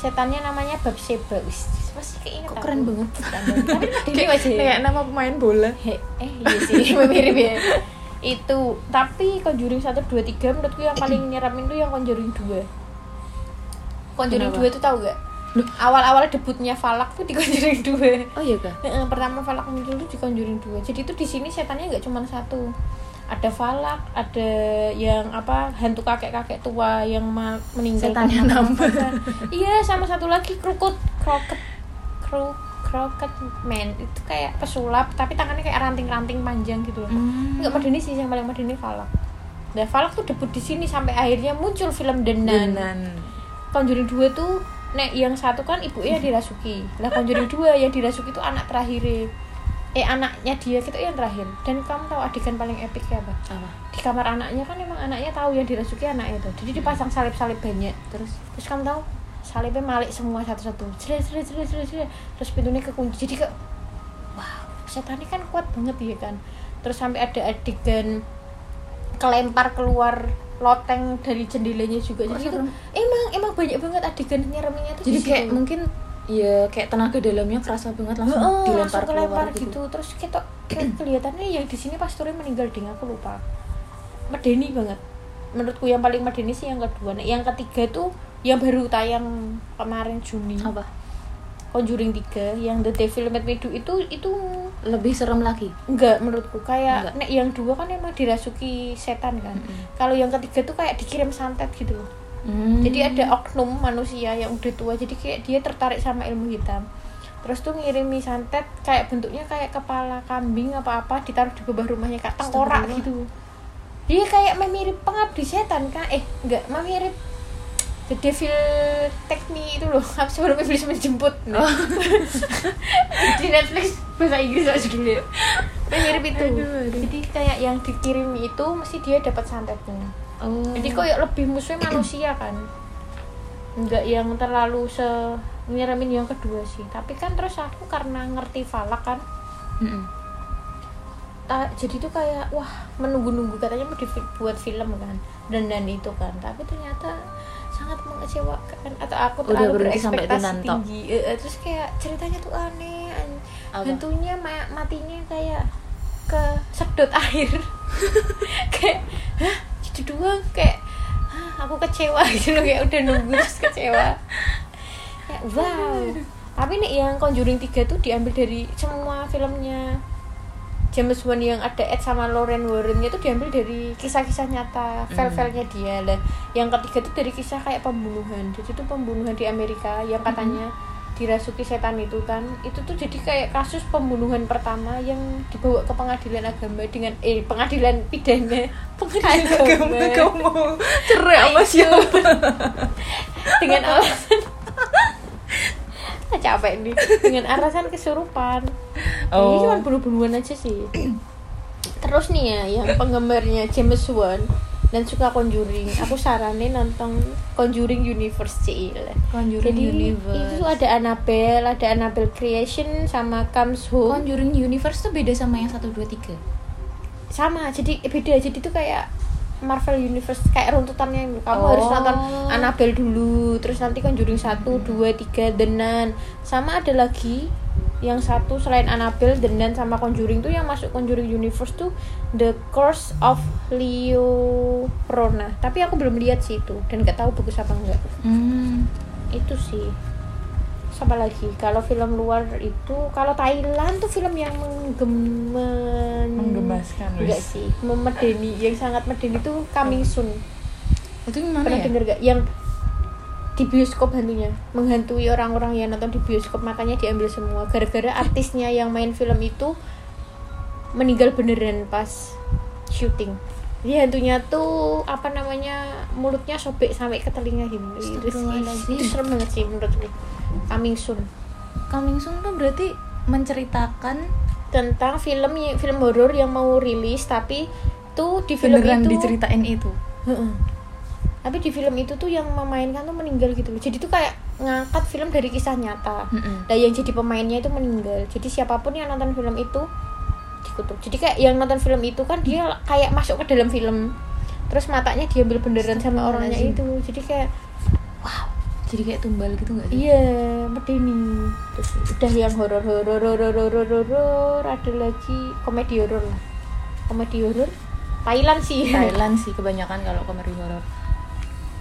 setannya namanya Babseba wis masih keinget
kok
aku.
keren banget
(laughs) tapi dewi aja
kayak nama pemain bola
He- eh iya sih (laughs) mirip ya itu tapi Conjuring 1, 2, 3 menurutku yang (clears throat) paling nyeramin tuh yang Conjuring 2 Conjuring
Kenapa?
2 itu tau gak? awal-awal debutnya Falak tuh di Conjuring (laughs) 2
oh iya kak
Heeh, pertama Falak muncul tuh di Conjuring 2 jadi tuh di sini setannya nggak cuma satu ada Falak ada yang apa hantu kakek-kakek tua yang ma- meninggal karena
Setannya nambah.
kemakan. iya sama satu lagi krukut kroket kru kroket man itu kayak pesulap tapi tangannya kayak ranting-ranting panjang gitu loh nggak medeni sih yang paling medeni Falak Nah, Falak tuh debut di sini sampai akhirnya muncul film The
Nah,
Nun. Conjuring 2 tuh nek yang satu kan ibunya dirasuki. Lah Conjuring 2 yang dirasuki itu anak terakhir. Eh anaknya dia gitu yang terakhir. Dan kamu tahu adegan paling epiknya apa?
apa
Di kamar anaknya kan emang anaknya tahu yang dirasuki anaknya itu. Jadi dipasang salib-salib banyak.
Hmm. terus
Terus kamu tahu salibnya malik semua satu-satu. Jret jret jret jret jret. Terus pintunya kekunci. Jadi kayak wow, setannya kan kuat banget ya kan. Terus sampai ada adegan kelempar keluar loteng dari jendelanya juga.
Kok
Jadi itu
serem?
emang emang banyak banget adegan nyereminya tuh
jadi
di
kayak
situ.
mungkin ya kayak tenaga dalamnya kerasa banget langsung
Heeh,
dilempar
langsung kelempar
keluar
gitu.
gitu,
Terus kita kayak kelihatannya yang di sini pasturnya meninggal ding aku lupa. Medeni banget. Menurutku yang paling medeni sih yang kedua. Nah, yang ketiga tuh yang baru tayang kemarin Juni.
apa
Conjuring 3 yang The Devil Made Me Do itu itu
lebih serem lagi
enggak menurutku kayak
Enggak.
nek yang dua kan emang dirasuki setan kan. Kalau yang ketiga tuh kayak dikirim santet gitu loh.
Hmm.
Jadi ada oknum manusia yang udah tua jadi kayak dia tertarik sama ilmu hitam. Terus tuh ngirimi santet kayak bentuknya kayak kepala kambing apa-apa ditaruh di bawah rumahnya kayak tengkorak
Astagfirullah.
gitu. Dia kayak memirip pengabdi setan kan? Eh, enggak, memirip The Devil Take Me itu loh, (laughs) Habis sebelum iblis menjemput. Nah. (laughs) di Netflix bahasa Inggris lah judulnya. Memirip itu. Jadi kayak yang dikirim itu mesti dia dapat santetnya.
oh.
Jadi kayak lebih musuhnya manusia kan. Enggak yang terlalu se nyeremin yang kedua sih. Tapi kan terus aku karena ngerti falak kan.
(laughs) Mm-mm.
ta- jadi tuh kayak wah menunggu-nunggu katanya mau dibuat film kan dan dan itu kan tapi ternyata sangat mengecewakan atau aku
Udah
terlalu
berhenti sampai
berekspektasi
dengan top.
tinggi Eh, eh, terus kayak ceritanya tuh aneh an-
Apa?
hantunya ma- matinya kayak ke sedot (laughs) air kayak hah gitu doang kayak "Hah, aku kecewa (laughs) gitu loh kayak udah nunggu terus kecewa kayak wow tapi nih yang Conjuring 3 tuh diambil dari semua filmnya James Wan yang ada Ed sama Lauren Warrennya tuh diambil dari kisah-kisah nyata file-filenya dia dan yang ketiga tuh dari kisah kayak pembunuhan jadi tuh pembunuhan di Amerika yang katanya dirasuki setan itu kan itu tuh jadi kayak kasus pembunuhan pertama yang dibawa ke pengadilan agama dengan eh pengadilan pidana pengadilan agama,
mau cerai sama siapa
dengan alasan (laughs) Ah, capek nih dengan alasan kesurupan
Oh.
ini cuma bulu-buluan aja sih (clears throat) terus nih ya yang penggemarnya James Wan dan suka Conjuring aku saranin nonton Conjuring Universe CIL
Conjuring
jadi
Universe.
itu ada Annabelle ada Annabelle Creation sama Comes Home
Conjuring Universe tuh beda sama yang 1 2 3.
sama jadi beda jadi itu kayak Marvel Universe kayak runtutannya ini. kamu
Oh.
harus nonton Annabelle dulu terus nanti Conjuring 1, 2, 3, The Nun sama ada lagi yang satu selain Annabelle, The Nun sama Conjuring tuh yang masuk Conjuring Universe tuh The Curse of Leo Rona tapi aku belum lihat sih itu dan nggak tahu bagus apa enggak
Hmm.
itu sih sama lagi kalau film luar itu kalau Thailand tuh film yang menggemen
Menggemaskan, wis.
enggak sih memedeni yang sangat medeni tuh Coming Soon
Itu gimana
pernah
ya?
denger gak yang di bioskop hantunya menghantui orang-orang yang nonton di bioskop makanya diambil semua gara-gara artisnya yang main film itu meninggal beneran pas syuting jadi hantunya tuh apa namanya mulutnya sobek sampai ke telinga gitu itu,
Astagfirullahaladzim.
sih- itu serem banget sih menurutku coming soon
Coming Soon tuh berarti menceritakan
tentang film film horor yang mau rilis tapi itu di film
beneran
itu
diceritain itu
Heeh. tapi di film itu tuh yang memainkan tuh meninggal gitu loh jadi tuh kayak ngangkat film dari kisah nyata
Mm-mm.
dan yang jadi pemainnya itu meninggal jadi siapapun yang nonton film itu dikutuk jadi kayak yang nonton film itu kan dia kayak masuk ke dalam film terus matanya diambil beneran sama orangnya
Astagfirullahaladzim.
itu jadi kayak
jadi kayak tumbal gitu nggak sih
iya medeni terus udah yang horor horor horor horor horor ada lagi komedi horor lah komedi horor Thailand sih
Thailand sih kebanyakan kalau komedi horor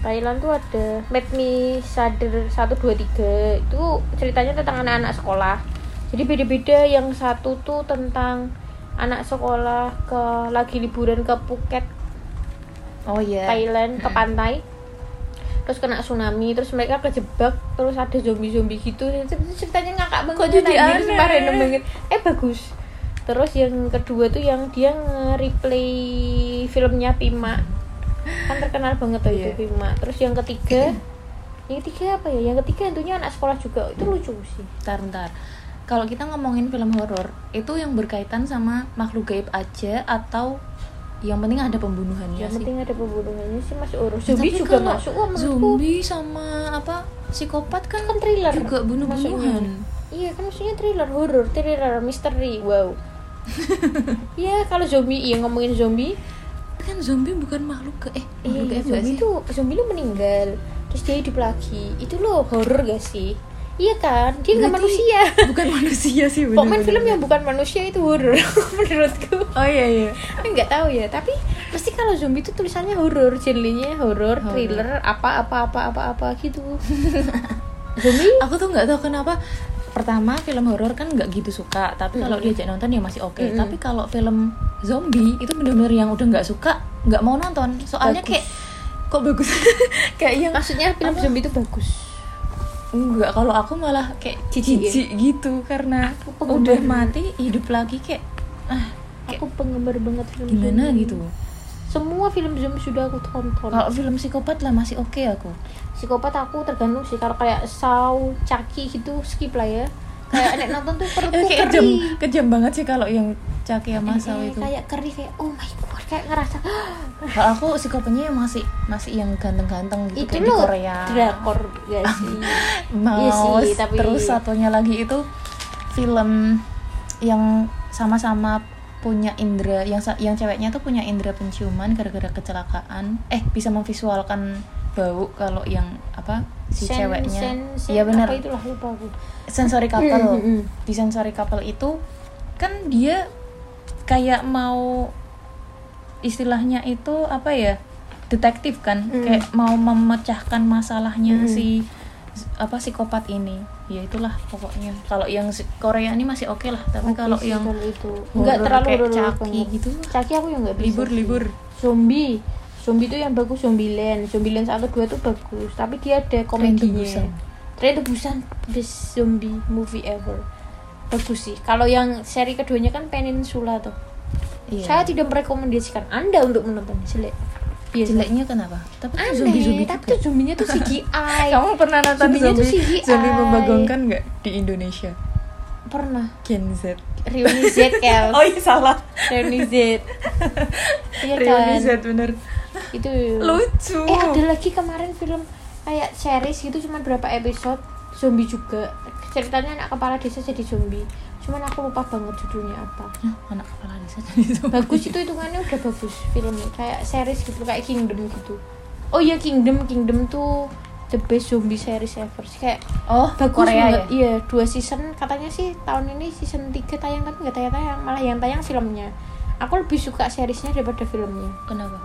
Thailand tuh ada Make Me Sadar 123 itu ceritanya tentang anak-anak sekolah jadi beda-beda yang satu tuh tentang anak sekolah ke lagi liburan ke Phuket
oh iya
Thailand ke
Mm-mm.
pantai terus kena tsunami terus mereka kejebak terus ada zombie-zombie gitu Itu ceritanya ngakak banget
Kok jadi
anjir,
aneh?
sumpah random banget eh bagus terus yang kedua tuh yang dia nge-replay filmnya Pima kan terkenal banget tuh
Iya.
itu Pima terus yang ketiga yang ketiga apa ya yang ketiga tentunya anak sekolah juga itu lucu sih
bentar bentar kalau kita ngomongin film horor itu yang berkaitan sama makhluk gaib aja atau yang penting ada pembunuhannya
yang
Iya sih
penting ada pembunuhannya sih masih urus zombie
Tapi kan
juga
kalau
masuk wah menurutku
zombie sama apa psikopat kan
kan thriller
juga bunuh-bunuhan
maksudnya. Iya kan maksudnya thriller horror, thriller misteri,
(laughs)
wow. Iya kalau zombie, iya ngomongin zombie,
kan zombie bukan makhluk ke eh
iya
makhluk gaib nggak
zombie
sih
itu zombie itu meninggal, terus dia hidup lagi, itu loh horror gak sih? Iya kan, dia nggak (laughs)
Berarti
manusia.
bukan manusia sih (laughs) bener,
Pokoknya
bener,
film
bener.
yang bukan manusia itu horror (laughs) menurutku.
oh iya iya
Nggak tahu ya, tapi pasti kalau zombie itu tulisannya horror, jadinya horror,
Horror.
thriller, apa apa apa apa apa
(laughs)
gitu. zombie
aku tuh nggak tahu kenapa pertama film horor kan nggak gitu suka tapi kalau
Mm-mm.
diajak nonton ya masih oke
Mm-mm.
tapi kalau film zombie itu bener-bener yang udah nggak suka nggak mau nonton soalnya
Bagus.
kayak kok bagus (laughs) kayak yang
maksudnya film
Apa?
zombie itu bagus.
nggak kalau aku malah kayak
Jijik ya?
jijik gitu karena
Aku penggemar.
udah mati hidup lagi kayak ah
Aku penggemar banget film
gimana
zombie.
gitu Oh.
Semua film zombie sudah aku tonton.
kalau film psikopat lah masih oke aku
Psikopat aku tergantung sih kalau kayak Saw, Chucky gitu skip lah ya. Kayak nek nonton tuh perutku
Eh, (laughs)
keri.
kayak kejam kejam banget sih kalau yang caki
Eh,
sama saw itu
Kayak keri kayak oh my god kayak ngerasa "Ah,
kalau aku psikopatnya yang masih masih yang ganteng-ganteng
itu
gitu kayak di
loh
Korea
drakor
(laughs)
gak sih? Iya
mau
sih, tapi-
terus satunya lagi itu film yang sama-sama punya indera yang sa- yang ceweknya tuh punya indera penciuman gara-gara kecelakaan eh bisa memvisualkan bau kalau yang apa si
Sen-
ceweknya
sen- sen-
iya benar
Apa itulah lupa aku.
sensory
Mm, mm, mm.
couple di sensory couple itu kan dia kayak mau istilahnya itu apa ya detektif kan
Mm.
kayak mau memecahkan masalahnya
Mm.
si apa psikopat ini ya itulah pokoknya kalau yang si- Korea ini masih oke lah tapi
Oke
kalau
sih,
yang
kalau itu
horror
nggak terlalu
kayak
horror
Chucky
banget.
gitu.
Chucky aku yang nggak bisa
libur
sih.
libur
zombie zombie tuh yang bagus zombieland zombieland satu dua tuh bagus tapi dia ada komedinya
Busan.
Train to Busan best zombie movie ever bagus sih kalau yang seri keduanya kan Peninsula tuh
Iya.
saya tidak merekomendasikan anda untuk menonton jelek Biasa.
jeleknya kenapa
Iya
tapi kan
aneh
zombie zombie
tapi tuh zombinya (laughs) tuh CGI
kamu pernah nonton
Zombinya tuh
zombie
CGI.
zombie membagongkan nggak di Indonesia
pernah
Gen Z
Reuni Z Kel
oh iya salah
Reuni Z iya
(laughs) Reuni
kan
Z bener
itu
lucu
Eh ada lagi kemarin film kayak series gitu cuman berapa episode zombie juga ceritanya anak kepala desa jadi zombie cuman aku lupa banget judulnya apa
Hah, anak kepala desa jadi zombie
bagus itu hitungannya udah bagus filmnya kayak series gitu kayak Kingdom gitu oh iya Kingdom Kingdom tuh the best zombie series ever kayak
oh
bagus
Korea
banget
ya
iya dua season katanya sih tahun ini season 3 tayang tapi nggak tayang-tayang malah yang tayang filmnya aku lebih suka seriesnya daripada filmnya
kenapa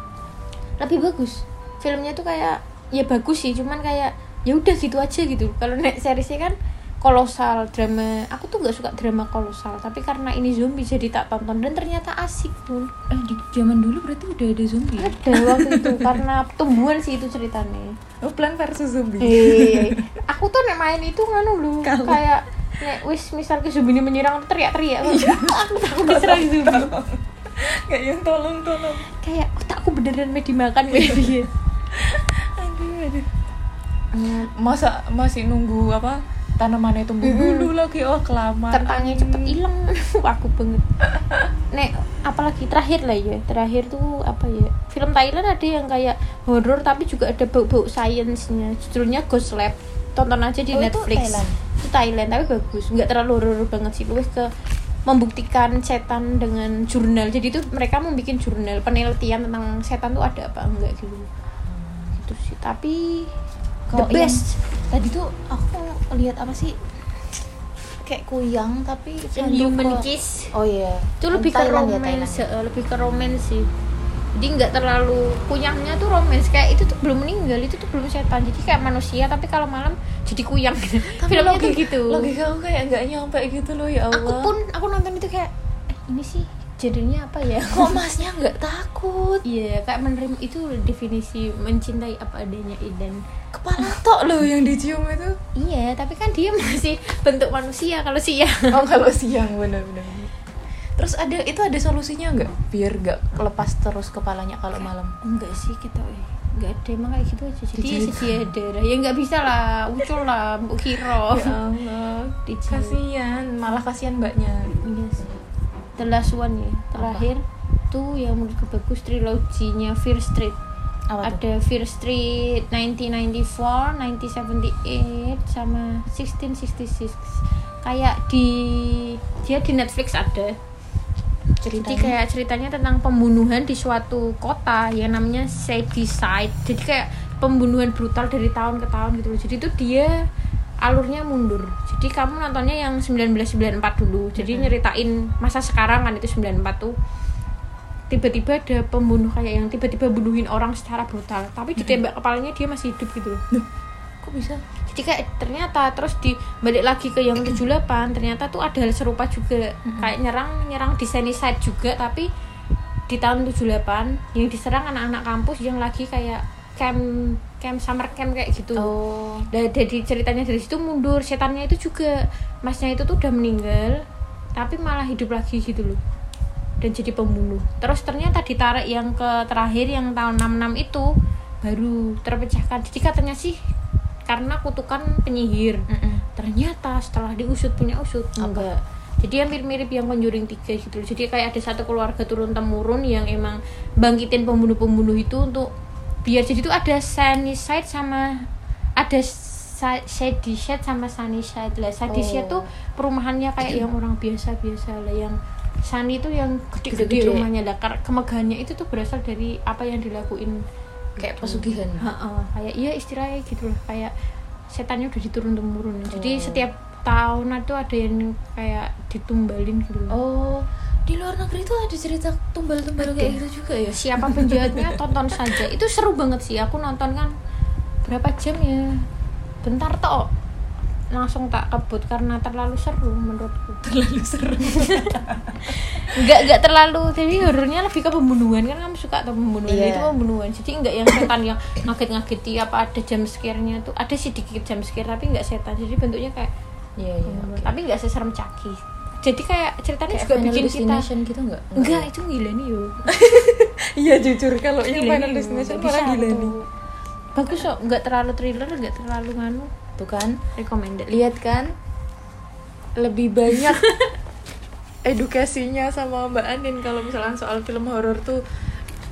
lebih bagus filmnya tuh kayak ya bagus sih cuman kayak ya udah gitu aja gitu kalau naik seriesnya kan kolosal drama aku tuh nggak suka drama kolosal tapi karena ini zombie jadi tak tonton dan ternyata asik tuh
eh di zaman dulu berarti udah ada zombie ya?
ada waktu itu karena tumbuhan sih itu ceritanya
oh plan versus zombie
eh aku tuh nek main itu nganu lu
Kalau-
kayak nek wis misal ke zombie ini menyerang aku teriak-teriak (laughs) aku takut diserang zombie
kayak yang tolong tolong
kayak otakku beneran Iya. mau dimakan (laughs) kayak dia
aduh aduh masa masih nunggu apa tanamannya tumbuh
Mm-mm.
dulu lagi oh kelamaan
(laughs) kentangnya cepet hilang aku banget nek apalagi terakhir lah ya terakhir tuh apa ya film Thailand ada yang kayak horor tapi juga ada bau-bau sainsnya judulnya Ghost Lab tonton aja di
Oh, itu
Netflix
Thailand?
Itu Thailand, tapi bagus nggak terlalu horor banget sih lebih ke membuktikan setan dengan jurnal jadi itu mereka mau bikin jurnal penelitian tentang setan tuh ada apa enggak gitu terus sih tapi
Kalau
the
yang-
best
Tadi tuh aku lihat apa sih? Kayak kuyang tapi
yang
hantu
human
kok.
kiss
Oh iya.
itu lebih ke
Thailand ya,
romance
Thailand.
eh, lebih ke romance sih jadi nggak terlalu kuyangnya tuh romance kayak itu tuh belum meninggal itu tuh belum setan jadi kayak manusia tapi kalau malam jadi kuyang gitu (laughs)
Tapi
filmnya tuh
logi-
gitu
Logika aku kayak nggak nyampe gitu loh ya Allah.
aku pun aku nonton itu kayak eh, ini sih jadinya apa ya
kok masnya nggak takut?
(laughs) iya kayak menerima itu definisi mencintai apa adanya Eden
Kepala tok loh yang dicium itu.
iya tapi kan dia masih bentuk manusia kalau siang
Oh kalau siang benar-benar. Terus ada itu ada solusinya nggak? Biar nggak lepas terus kepalanya kalau malam.
enggak sih kita eh, enggak ada emang kayak gitu aja jadi
Dijahit.
sedia darah ya nggak bisa lah ucul lah mbok
(laughs)
kiro
Ya Allah.
Dijahit.
Kasihan, malah kasihan mbaknya.
Iya sih. The last one ya, terakhir tuh yang menurutku bagus triloginya Fear Street.
Apa tuh?
Ada Fear Street 1994, 1978 sama 1666. Kayak di dia di Netflix ada. Jadi
Ceritanya.
kayak ceritanya tentang pembunuhan di suatu kota yang namanya Sadyside. Jadi kayak pembunuhan brutal dari tahun ke tahun gitu loh. Jadi itu dia alurnya mundur. Jadi kamu nontonnya yang 1994 dulu. Jadi nyeritain masa sekarang kan itu 94 tuh tiba-tiba ada pembunuh kayak yang tiba-tiba bunuhin orang secara brutal tapi ditembak kepalanya dia masih hidup gitu loh
kok bisa?
jadi kayak ternyata terus di balik lagi ke yang 78 ternyata tuh ada hal serupa juga kayak nyerang nyerang di Sunnyside juga tapi di tahun 78 yang diserang anak-anak kampus yang lagi kayak camp camp summer camp kayak gitu
Oh.
Da- dari ceritanya dari situ mundur setannya itu juga masnya itu tuh udah meninggal tapi malah hidup lagi gitu loh dan jadi pembunuh terus ternyata ditarik yang ke terakhir yang tahun 66 itu baru terpecahkan jadi katanya sih karena kutukan penyihir ternyata setelah diusut punya usut enggak jadi hampir mirip yang Conjuring 3 gitu loh. jadi kayak ada satu keluarga turun temurun yang emang bangkitin pembunuh-pembunuh itu untuk biar jadi itu ada sunny side sama ada sa- shady side sama sunny side lah shady side
Oh.
tuh perumahannya kayak yang orang biasa-biasa lah yang sunny itu yang gede-gede
Gede-gede.
rumahnya lah Kar- kemegahannya itu tuh berasal dari apa yang dilakuin
kayak pesugihan
Heeh, kayak iya istilahnya gitu loh kayak setannya udah diturun temurun jadi
Oh.
setiap tahun itu ada yang kayak ditumbalin gitu loh.
oh di luar negeri tuh ada cerita tumbal-tumbal
Ada.
kayak gitu juga
(laughs)
ya
siapa penjahatnya (laughs) tonton saja itu seru banget sih aku nonton kan berapa jam ya bentar toh langsung tak kebut karena terlalu seru menurutku
terlalu seru
nggak nggak terlalu jadi horornya lebih ke pembunuhan kan kamu suka tuh pembunuhan
Iya.
itu pembunuhan jadi nggak yang setan yang ngaget ngageti apa ada jam scare-nya tuh ada sih dikit jam scare tapi nggak setan jadi bentuknya kayak
iya
Pembunuhan. tapi nggak seserem caki jadi kayak ceritanya
Kayak
juga bikin kita
gitu nggak
enggak itu gila nih yo
Iya jujur kalau
Gila
yang
nih,
final
yo.
destination
Nggak
malah
bisa
gila
aku
nih.
tuh. bagus kok nggak terlalu thriller nggak terlalu nganu
tuh kan
recommended
Lihat kan? Lebih banyak (laughs) edukasinya sama Mbak Anin kalau misalnya soal film horor tuh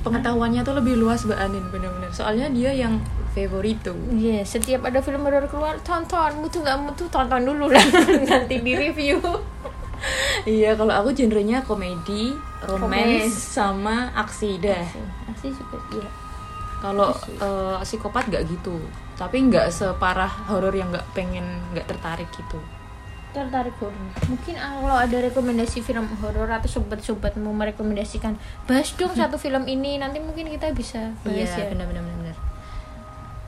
pengetahuannya tuh lebih luas Mbak Anin benar-benar. Soalnya dia yang favorito.
Iya, setiap ada film horor keluar tonton, mutu nggak mutu tonton dulu lah (laughs) nanti di review.
(laughs) iya, kalau aku genrenya komedi,
Romance.
romance, sama aksi dah.
Asli juga iya.
Kalau eh, psikopat nggak gitu, tapi nggak separah horor yang nggak pengen nggak tertarik gitu.
tertarik horor mungkin ah, kalau ada rekomendasi film horor atau sobat-sobat mau merekomendasikan bahas dong
Hmm.
satu film ini nanti mungkin kita bisa
Iya,
bahas ya
benar-benar benar.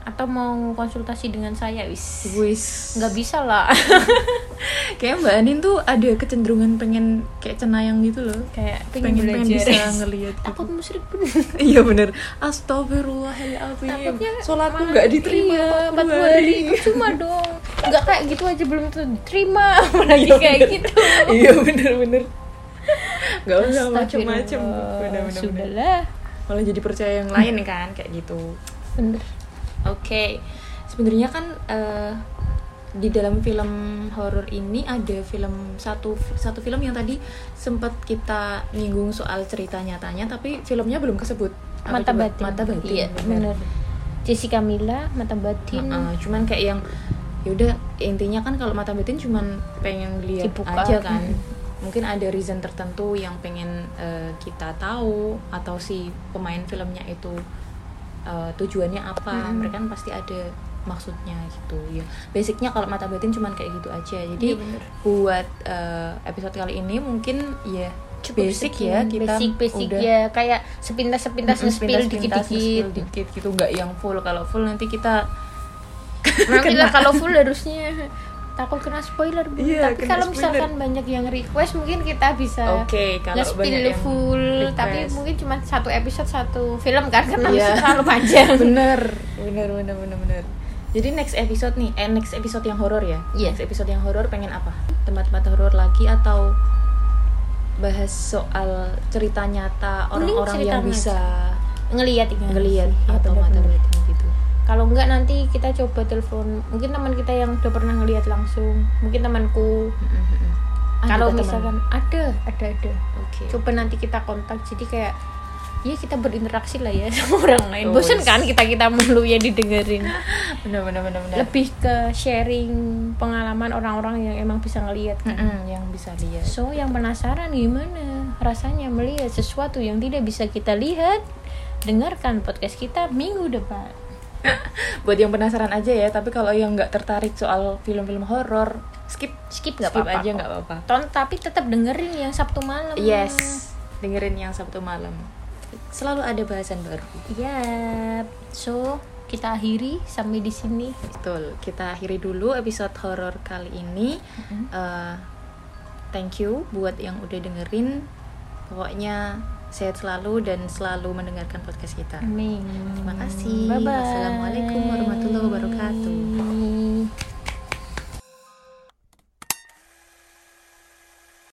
atau mau konsultasi dengan saya wis
Wis.
nggak bisa lah (laughs)
kayak Mbak Anin tuh ada kecenderungan pengen kayak cenayang gitu loh kayak
pengen
pengen, pengen,
belajar. (laughs)
bisa (laughs) ngelihat gitu.
takut musyrik pun
iya bener astagfirullahaladzim
takutnya
sholatku
malah-
nggak diterima
iya, 40 hari. cuma dong nggak kayak gitu aja belum tuh
(laughs)
diterima apalagi
Iya,
kayak
bener.
gitu
(laughs) iya bener bener nggak usah macem-macem
Astagfirullah.
bener bener, bener.
sudahlah
malah jadi percaya yang lain kan kayak gitu
bener
Oke, sebenarnya kan eh, di dalam film horor ini ada film satu satu film yang tadi sempat kita nyinggung soal cerita nyatanya tapi filmnya belum kesebut Apa
Mata
coba?
Batin.
mata batin
Iya,
benar.
bener. Jessica Mila, Mata Batin.
Heeh, cuman kayak yang yaudah intinya kan kalau mata batin cuman pengen lihat
Dibuka.
aja kan
Mm.
mungkin ada reason tertentu yang pengen eh, kita tahu atau si pemain filmnya itu eh, tujuannya apa
Mm.
mereka kan pasti ada maksudnya gitu ya basicnya kalau mata batin cuman kayak gitu aja jadi
Iya, bener.
buat eh, episode kali ini mungkin ya
Cukup
basic
sekian.
ya kita
basic basic
udah
ya kayak sepintas sepintas
Mm-mm,
nge-spill
sepintas-sepintas
dikit
nge-spill
dikit
dikit gitu nggak yang full kalau full nanti kita
nanti lah kalau full harusnya takut kena spoiler Bu.
Iya,
tapi
kena
kalau
spoiler.
misalkan banyak yang request mungkin kita bisa
Oke, kalau banyak
nge-spill
yang
full tapi
request.
mungkin cuma satu episode satu film kan karena
Iya.
(laughs) terlalu panjang
bener, bener, bener, bener, bener. Jadi next episode nih, eh next episode yang horor ya?
Iya.
Next episode yang horor pengen apa? Tempat-tempat horor lagi atau bahas soal cerita nyata
Mending
orang-orang
cerita
yang
nyata.
bisa
ngelihat ini
ngelihat
Iya,
atau mata
bener-bener.
batin gitu.
kalau enggak nanti kita coba telepon mungkin teman kita yang udah pernah ngelihat langsung mungkin temanku
Mm, mm, mm. Ada
kalau kan-
teman?
misalkan ada ada ada
Oke.
coba nanti kita kontak jadi kayak ya kita berinteraksi lah ya (laughs) sama orang lain
Terus.
bosen kan kita kita mulu ya
(laughs)
didengerin
Bener, bener, bener, bener.
lebih ke sharing pengalaman orang-orang yang emang bisa ngelihat
Mm,
kan
mm, yang bisa lihat.
so yang penasaran gimana rasanya melihat sesuatu yang tidak bisa kita lihat dengarkan podcast kita minggu depan
buat yang penasaran aja ya tapi kalau yang nggak tertarik soal film-film horor skip
skip nggak
skip
apa-apa
aja
kok.
nggak apa-apa
Ton- tapi tetap dengerin yang Sabtu malam
yes dengerin yang sabtu malam selalu ada bahasan baru
Yap. so kita akhiri sampai di sini
betul kita akhiri dulu episode horor kali ini Eh, thank you buat yang udah dengerin pokoknya sehat selalu dan selalu mendengarkan podcast kita
amin
Terima kasih. Wassalamualaikum warahmatullahi wabarakatuh.